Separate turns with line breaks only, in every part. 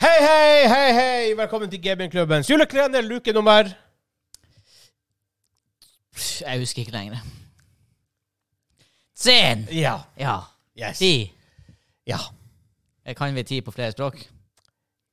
Hei, hei, hei, hei! Velkommen til Gamingklubbens julekalender, luke nummer
Pff, Jeg husker ikke lenger. Zen!
Ja.
Ja.
Yes.
Ti.
Ja.
Jeg kan vi ti på flere språk?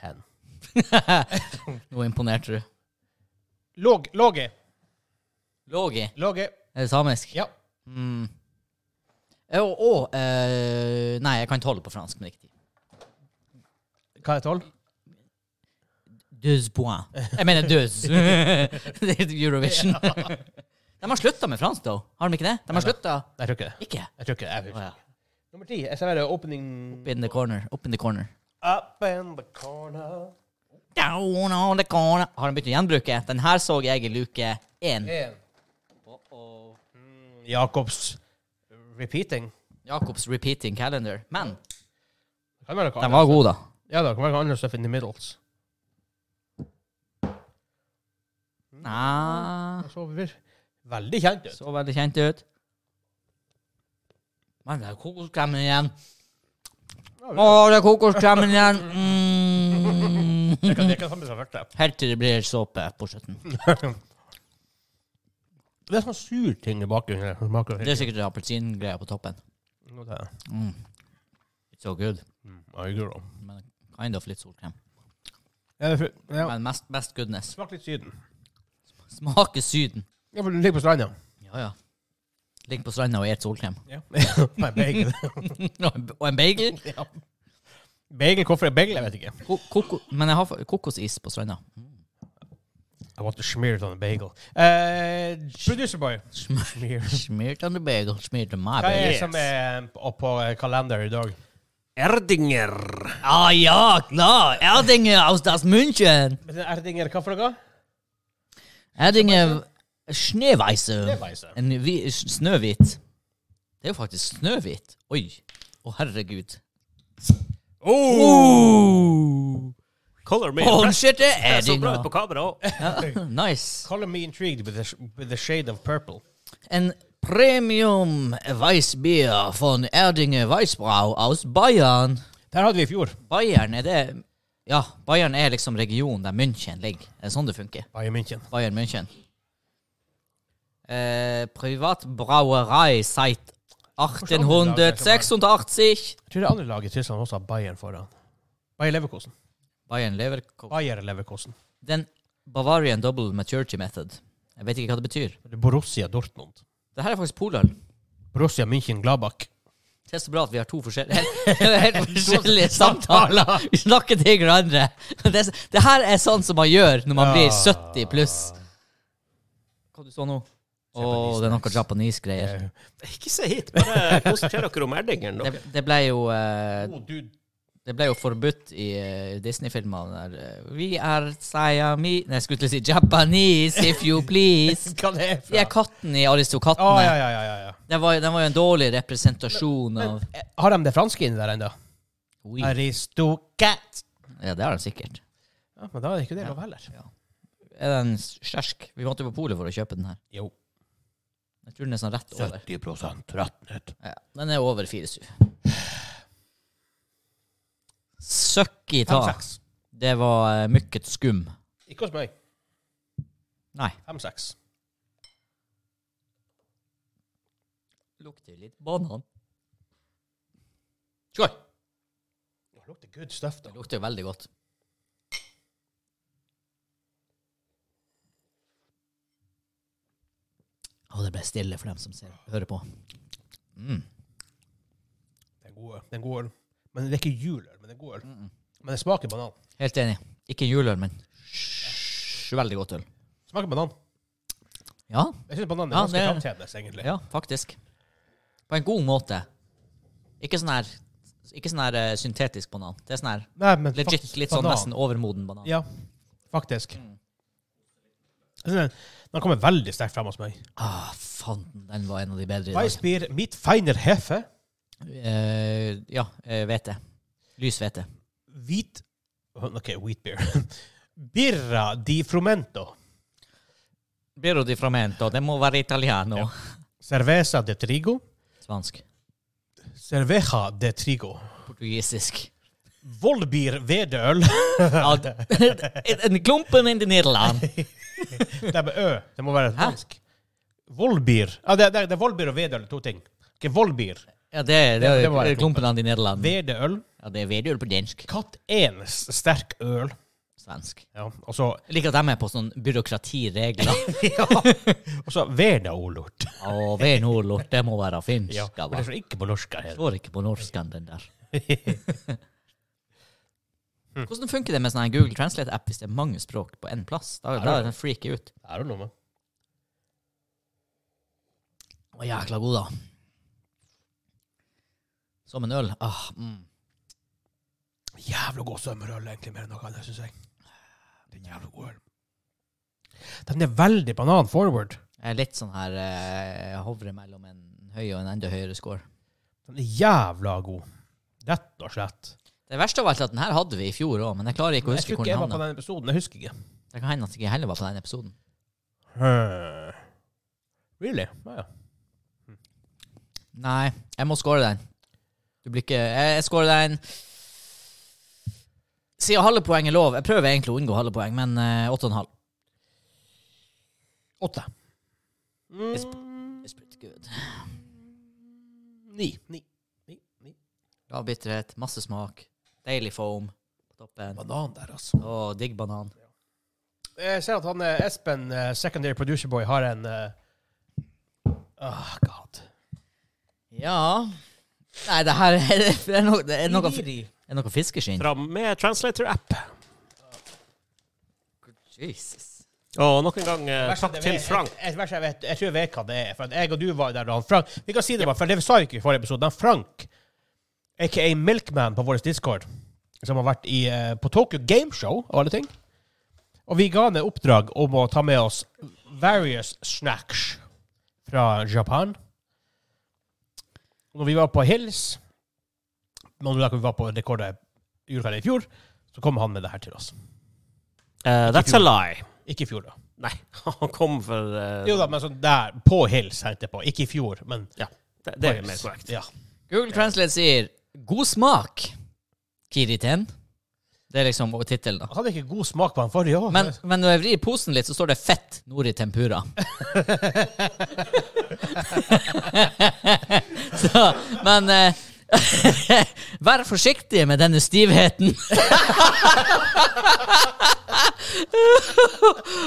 Ten.
Nå imponerte du.
Låg, låge.
Logi.
Låge.
Er det samisk?
Ja.
Mm. Og, og eh, Nei, jeg kan tolv på fransk, men ikke ti.
Hva er tolv?
Deux points. Jeg mener deux. Det er Eurovision. De har slutta med fransk, da. Har de ikke det? De har slutta
Jeg tror ikke det.
Ikke?
Jeg tror ikke det. Jeg
Å,
vet ikke.
ja.
Nummer ti. Jeg serverer opening
Up in the corner. Up in the corner.
Up in the corner.
Down on the corner. Har de begynt å gjenbruke? Den her så jeg i luke én.
En. Mm, Jacobs repeating.
Jacobs repeating calendar. Men
Det kan være noe
den var god, da.
Ja, det kan være noe annet stuff in the middles.
Nei,
Jeg Så vir- veldig kjent ut.
så veldig kjent ut. Men det er kokoskremen igjen. Å, det er kokoskremen igjen!
Det
Mm.
kan, det kan samme som første.
Helt til det blir såpe på slutten.
Det er sånn sur ting i bakgrunnen. her, som smaker
Det er sikkert appelsingreier på toppen.
Nå tar jeg.
Mm. It's so good.
Mm, I agree.
Men kind of litt solkrem.
Ja, det er fru- ja.
Men mest, best goodness.
Smak litt Syden.
Smaker Syden.
Ja, for du ligger på stranda.
Ja, ja. Ligger på stranda og spiser solkrem.
Ja. Nei, bagel.
og en bagel.
ja. Bagel, hvorfor er bagel? Jeg vet ikke.
Ko koko Men jeg har fa- kokosis på stranda.
I want to smear it on a bagel. Eh, producer boy. Smear.
Smirt on the bagel, smirt on my
Hva er
bagel.
det som er opp på eh, kalender i dag?
Erdinger.
Ah ja, klar! Erdinger aus das München!
Men det er Erdinger, hva for noe?
Erdinger Schneeweise.
Snøveise.
En hvi- snøhvit. Det er jo faktisk snøhvit. Oi. Å, herregud. Oh!
Color me impressed.
Håndskjørte
Det så bra
Erdinger.
ut på kamera òg.
Ja, nice.
Color me intrigued with the, sh- with the shade of purple.
En premium Weissbier von Erdinger Weissbrau aus Bayern.
Der hadde vi i fjor.
Bayern, er det Ja, Bayern er liksom regionen der München ligger. Er det sånn det funker?
Bayern München.
Bayern München. Eh, Privatbrauerei seit 1886.
Jeg tror det andre laget i Tyskland også har Bayern foran. Bayer Leverkosen.
Bayern Leverkusen.
Bayer Leverkosen.
Den Bavarian Double Maturity Method. Jeg vet ikke hva det betyr.
Borussia Dortmund.
Det her er faktisk poløl.
Borussia München Gladbach.
Det er så bra at vi har to forskjellige, helt forskjellige samtaler. Vi snakker til hverandre. Det, er så- det her er sånn som man gjør når man blir 70 pluss. Hva du så nå? Å, det er noe Japanese-greier.
Ikke se hit, bare konsentrer dere om Erdingeren.
Det,
dere.
det ble jo eh,
Oh, du
Det ble jo forbudt i eh, Disney-filmene der eh, We are Siami... Nei, jeg skulle til å si Japanese, if you please.
Hva det er
De er
fra?
katten i
Å, ja,
Aristokattene.
ja, ja, ja, ja.
Den var, den var jo en dårlig representasjon av
Eh, Har de det franske inni der ennå?
Oui.
Aristocat.
Ja, det har de sikkert.
Ja, men da er det ikke det lov heller.
Er den skjersk? Vi måtte jo på polet for å kjøpe den her.
Jo.
Jeg tror den er sånn rett over.
70 rattnøtt.
Ja, den er over 4-7. Søkki ta.
Fem-seks.
Det var eh, mykket skum.
Ikke hos meg.
Nei.
Fem-seks.
Lukter litt banan.
Skål! Det lukter good stuff, da.
Det lukter jo veldig godt. Å, det ble stille for dem som ser, hører på. Mm.
Den gode. Den gode. Men det er ikke juleøl, men den gode øl. Men det smaker banan.
Helt enig. Ikke en juleøl, men sj- veldig godt øl.
Smaker banan.
Ja,
Jeg synes banan er
Ja,
ganske
det er-
framtredende, egentlig.
ja, faktisk. På en god måte. Ikke sånn her ikke sånn her eh, syntetisk banan. Det er sånn her
Nei, men
legit,
faktisk
litt sånn
banan.
nesten Mm. overmoden banan.
Ja, faktisk. Jeg synes Den den kommer veldig sterkt frem hos meg.
Ah, fanden, den var en av de bedre i dag.
Weissbier, mitt feiner hefe,
Eh, ja, eh, hvete. Lys hvete.
hvit Ok, wheat beer. Birra di frumento.
Birro di framento, det må være italiano.
Cerveza de trigo.
Svansk.
Cerveja de trigo.
Portugisisk.
Vollbier Vedøl.
Ja, d- en klumpen in the Nederland.
Det er med Ø. Det må være
Hæ?
dansk. Vollbier. Ja, det er, det er Vollbier og Vedøl, to ting. Ikke Vollbier.
Ja, det, det, det,
det må være
er klumpen in the Nederland.
Vedøl.
Ja, det er vedøl på dansk.
Katt 1, sterk øl.
Svensk.
Ja, og så
Jeg liker at de er på sånn byråkratiregler.
ja. Og så Vedaolort.
Å, ved nordlort, det må være finsk.
Ja,
da,
men det
va.
står ikke på norsk her.
Står ikke på norsken, den der. Hvordan funker det med sånn her Google Translate-app hvis det er mange språk på én plass? Da, da er den freaky ut.
Er det noe med?
Å, jækla god, da. Som en øl. Ah, mm.
Jævla god sommerøl, egentlig, mer enn noe annet, syns jeg. Det er en jævla god øl. Den er veldig banan forward.
Jeg er litt sånn her eh, Hovre mellom en høy og en enda høyere score.
Den er jævla god. Rett og slett.
Det verste av alt er at den her hadde vi i fjor òg, men jeg klarer ikke å
Jeg
huske
tror
hvor
ikke
den
jeg var på
havna.
den episoden. Jeg husker ikke.
Det kan hende at jeg ikke heller var på den episoden.
Hmm. Really? Ja, ja.
Nei, jeg må score den. Du blir ikke Jeg, jeg scorer den Siden halve poeng er lov Jeg prøver egentlig å unngå halve poeng, men eh, åtte og en halv.
Åtte.
It's, it's pretty good.
Ni. Ni. Ni. Ni.
Lav bitterhet, masse smak, deilig foam på toppen
Banan der, altså.
og digg banan.
Jeg ser at han eh, Espen, eh, secondary producer boy, har en eh, Ah, god.
Ja Nei, det her er, det er, noe, det er, noe, det
Iri.
er noe fiskeskinn.
Fram med translator-app.
Jesus.
Og nok en gang eh,
Verst
takk
jeg
til
vet-
Frank.
Jeg, jeg, verst jeg, vet, jeg tror jeg vet hva det er. For at jeg og du var der da han Frank Vi kan si det bare, for det sa vi ikke i forrige episode. Han Frank, aka Milkman på vår Discord, som har vært i, eh, på Tokyo Gameshow og alle ting. Og vi ga han et oppdrag om å ta med oss various snacks fra Japan. Og Når vi var på Hills, når vi var på rekordet juleferie i fjor, så kom han med det her til oss.
Eh, that's a lie.
Ikke i fjor, da.
Nei, han kom for eh,
Jo da, men sånn der, på Hills heter det på. Ikke i fjor, men
Ja, det, det er mer korrekt.
Ja.
Google Translate sier 'god smak', Kiriten. Det er liksom tittelen, da.
Han hadde ikke god smak på den forrige år.
Men, men når jeg vrir posen litt, så står det 'fett nord i tempura'. så, men eh, Vær forsiktig med denne stivheten.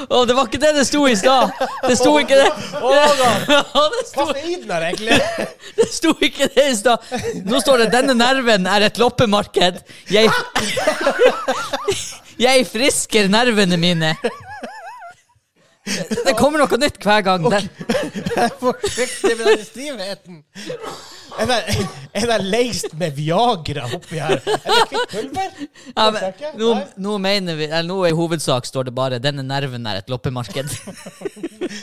Og det var ikke det det sto i stad! Det sto ikke det. det sto
Hva er den her, egentlig?
Det sto ikke det i stad. Nå står det 'denne nerven er et loppemarked'. Jeg, jeg frisker nervene mine. Det kommer noe nytt hver gang. Den,
Forsiktig med den stivheten. Er det, er det laced med Viagra oppi her? Er det kvitt pulver?
ja, men,
Forsøker?
nå,
Nei.
nå mener vi eller Nå i hovedsak står det bare 'denne nerven er et loppemarked'.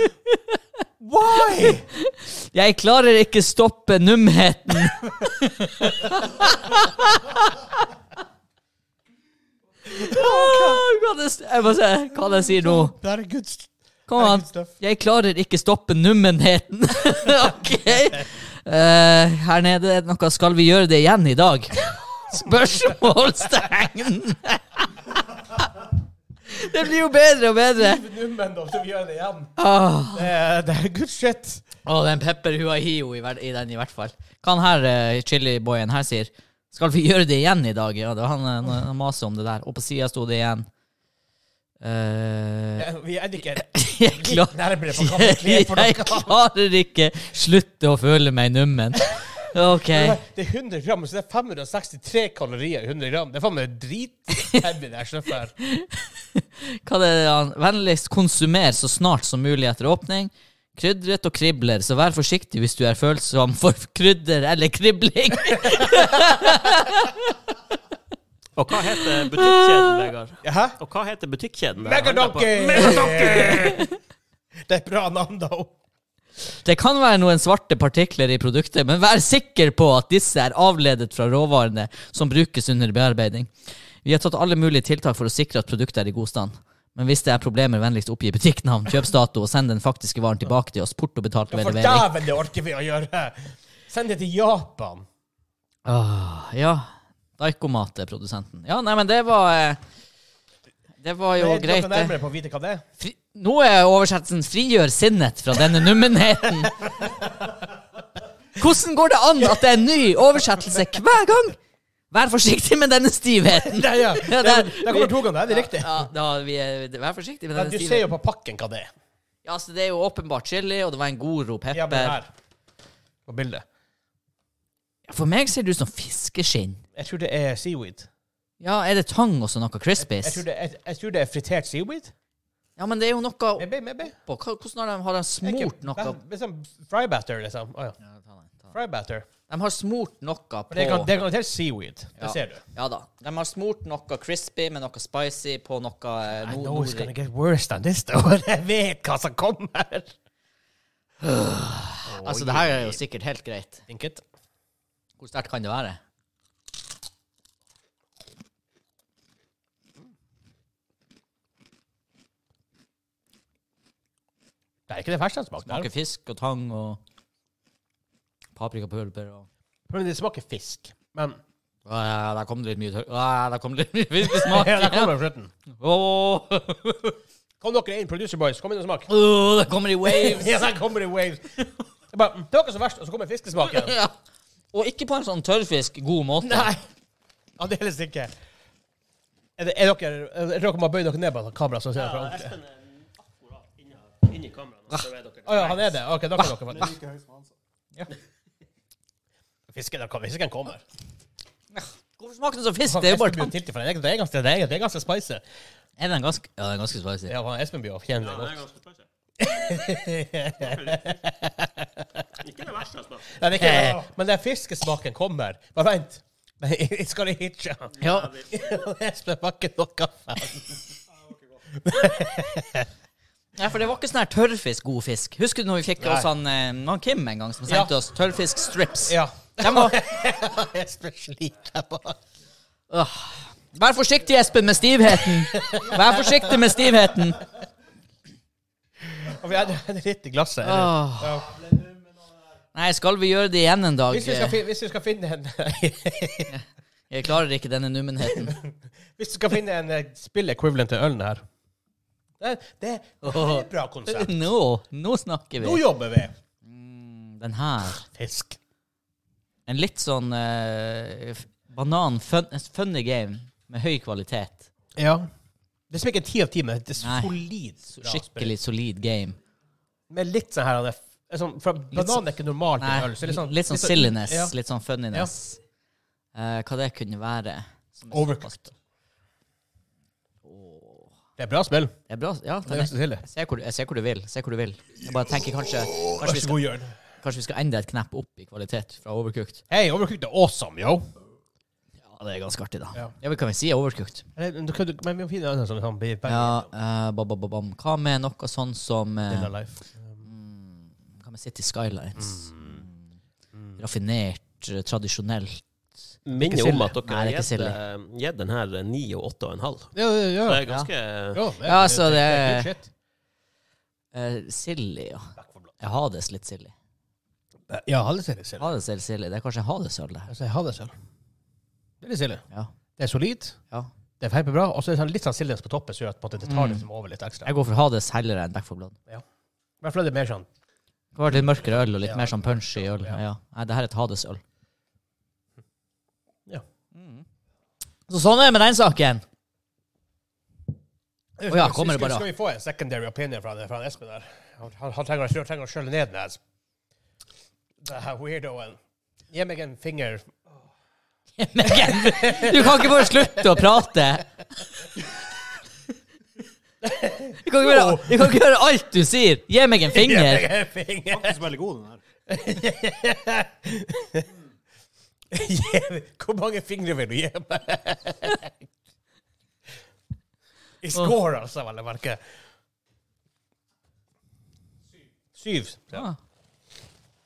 Why?
Jeg klarer ikke stoppe numheten. Åh, hva det- Jeg må se hva det sier nå.
Det er good st-
Kom
Nei,
an.
good stuff.
Jeg klarer ikke stoppe nummenheten. ok. Eh, her nede er det noe Skal vi gjøre det igjen i dag? Spørsmålstegn! det blir jo bedre og bedre. Ah.
Nummen, da, så vi gjør det igjen.
Åh,
Det er, det er good shit.
Åh, den pepper huahio i, hver- i den, i hvert fall. Hva han her eh, chiliboyen her sier? Skal vi gjøre det igjen i dag? Ja, det var han, eh, han maser om det der. Og på sida sto det igjen. Eh,
Vi er ikke
jeg klarer
litt nærmere på hva vi kler
Jeg
for noe.
klarer ikke slutte å føle meg nummen. OK.
Det er 100 gram, så det er 563 kalorier i 100 gram. Det er faen meg dritheavy, det her stoffet her.
Hva det er han? Vennligst konsumer så snart som mulig etter åpning. Krydret og kribler, så vær forsiktig hvis du er følsom for krydder eller kribling.
Og hva heter butikkjeden, Vegard?
Hæ?
Og hva heter butikkjeden? der?
Megadonkey! Megadonkey! Det er et bra navn, da.
Det kan være noen svarte partikler i produktet, men vær sikker på at disse er avledet fra råvarene som brukes under bearbeiding. Vi har tatt alle mulige tiltak for å sikre at produktet er i god stand. Men hvis det er problemer, vennligst oppgi butikknavn, kjøpsdato og send den faktiske varen tilbake til oss. Porto betalt ved
For
levering.
dæven, det orker vi å gjøre! Send det til Japan.
Åh, Ah, ja. Daikomat er produsenten. Ja, nei, men det var eh, Det var jo
Men er
greit,
dere
det.
nærmere på å vite hva det er?
Fri, nå er oversettelsen 'frigjør sinnet fra denne nummenheten'. Hvordan går det an at det er en ny oversettelse hver gang? Vær forsiktig med denne stivheten.
Nei, ja.
Ja,
Der,
der-
der kommer to ganger, er det riktig?
Ja, da, vi er, vær forsiktig med
Men
denne
du ser
stivheten.
jo på pakken hva det er.
Ja, så det er jo åpenbart chili, og det var en god ro
Ja, men
pepper.
her. På bildet.
For meg ser det ut som fiskeskinn.
Jeg tror det er seaweed.
Ja, er det tang og så noe
Jeg
crispies?
tror det, jeg, jeg tror det er fritert seaweed.
Ja, men det er jo noe på
Maybe, maybe.
Hva- Hvordan har de, har de smurt
Ikke-
noe
Det er Liksom fry batter, liksom. Å, ja.
Ja, ta den, ta den.
Fry batter.
De har smurt noe på
Men det er gar- det er garantert seaweed. Det
Ja.
ser du.
Ja da. De har smurt noe crispy med noe spicy på noe eh,
I
nord-
know it's
nordisk.
gonna get worse than this, though. Jeg vet hva som kommer.
Altså, det her er jo sikkert helt greit.
Think it.
Hvor sterkt kan det være?
Det er ikke det verste den smaker.
Smaker fisk og tang og paprikapulver og
Men det smaker fisk. Men
Åh, Der kom det litt mye tørr Åh, Der kom det litt mye
ja,
fiskesmak.
der kommer slutten.
Åh,
Kom dere inn, producer boys. Kom inn og smak.
åh, oh, der kommer det i waves.
Ja, der kommer det waves. Det, er bare, det var ikke så verst, og så kommer fiskesmaken.
Ja. Og ikke på en sånn tørrfisk god måte.
Nei. Aldeles ikke. Er, det, er dere er dere må bøye dere ned på kameraet, så ser dere ordentlig.
Espen er akkurat inni her- inni kameraet. nå, så vet dere.
Ah. Å ja, han er det? Ok, da kan dere få Ja. Fisken, der kommer- fisken kommer.
Hvorfor smaker den som fisk? Det er jo
Espen
bare
blir jo
tang.
tiltet, for det er- det er ganske, det er- det er ganske spicy.
Er den ganske Ja, den er ganske spicy.
Ja, han Espen blir jo kjent
Ja, det er
godt.
ganske spicy. Ikke altså. det verste jeg smaker.
Nei, det er ikke, men den fiskesmaken kommer. Bare vent. Jeg skal hitche.
Ja.
Espen var ikke noe kaffe. altså.
Nei, for det var ikke sånn her tørrfisk god fisk. Husker du når vi fikk
Nei.
oss han, eh, han Kim en gang, som
Ja.
sendte oss tørrfisk strips?
Ja.
Den var,
Espen sliter bare.
vær forsiktig, Espen, med stivheten! Vær forsiktig med stivheten!
Og vi hadde hadde litt i glasset. eller?
Åh.
Ja.
Nei, skal vi gjøre det igjen en dag?
Hvis vi skal, fin- hvis vi skal finne en
Jeg klarer ikke denne nummenheten.
Hvis du skal finne en eh, spill-equivalent til ølen her Det, det, det er et bra konsept.
Nå, nå snakker
Nå
vi.
jobber vi.
Den her.
Fisk.
En litt sånn eh, f- banan fun, funny game med høy kvalitet.
Ja. Det smaker ti av ti, men det er
Nei.
solid. bra
Skikkelig solid game.
spill. Med litt sånn her det er sånn, for Banan er ikke normalt i
Nei,
øl. Så litt sånn,
litt sånn silliness.
Ja.
Litt sånn funniness. Eh, hva det kunne være. som er
Overcooked.
såpass-
Det er bra spill.
Det er bra. Ja,
Det er
den er,
nesten silly.
jeg, ser hvor, du- jeg ser hvor du vil. Jeg ser hvor du vil. Jeg bare tenker kanskje, kanskje, vi, skal,
god, Jørn.
kanskje vi skal enda et knepp opp i kvalitet fra overcooked.
Hei, Overcooked er awesome, yo.
Ja, det er ganske artig, da.
Ja.
Ja, men kan vi si overcooked?
Eller, du kan- du- Men vi må finne en annen sånn sånn blir-
Ja, eh, ba, ba, ba, bam. Hva med noe sånn som eh, mm,
Vanilla Life.
Hva med City Skylines? Mm. Raffinert, eh, tradisjonelt.
Ikke
Minner
silly.
om at
Nei,
dere
det
har
er ikke
gitt, eh, gitt den her eh, ni og åtte og en halv.
Ja, ja,
Så
ja.
det er ganske
Ja, men-
Ja, altså, det-
good shit.
Eh, silly, ja. Jeg Hades litt silly.
Ja, alle ser det selv.
Hades er litt silly. Det er kanskje Hades-øl, det her.
Altså, jeg har det selv. Det er litt silly.
Ja.
Det er solid.
ja.
Det er kjempebra. Og så er det sånn litt sånn silliness på toppen, så gjør at på en måte det tar liksom over litt ekstra.
Jeg går for Hades heller enn Back 4 Blood.
I hvert fall er det mer sånn
Det var litt mørkere øl og litt
Ja.
mer sånn punch i øl. Ja. Nei, det her er et Hades-øl.
Ja.
Så sånn er det med den saken. Å ja, kommer
Skal-
det bare.
Skal vi få en secondary opinion fra, fra Espen der? Han, han, han trenger å- trenger å skjølle ned den her. Det her weirdoen. Gi meg en finger.
Men du kan ikke bare slutte å prate. Du kan, ikke bare, du kan ikke gjøre alt du sier. Gi meg en
Gi
finger.
meg en finger.
Faktisk veldig god, den her.
Gi meg- Hvor mange fingre vil du gi meg? I score, altså, vel å merke. Syv. Ja.
Ah.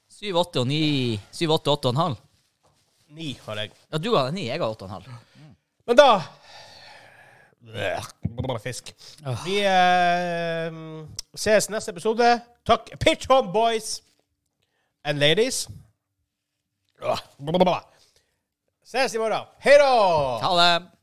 Syv, åtte og ni. Syv, åtte, åtte og en halv.
Ni har jeg.
Ja, du ga deg ni, jeg ga åtte og en halv.
Men da Bare fisk. Vi eh, ses neste episode. Takk. Pitch on, boys and ladies. Blah, blah, blah, blah.
Ses i morgen. Hei da!
Ha det.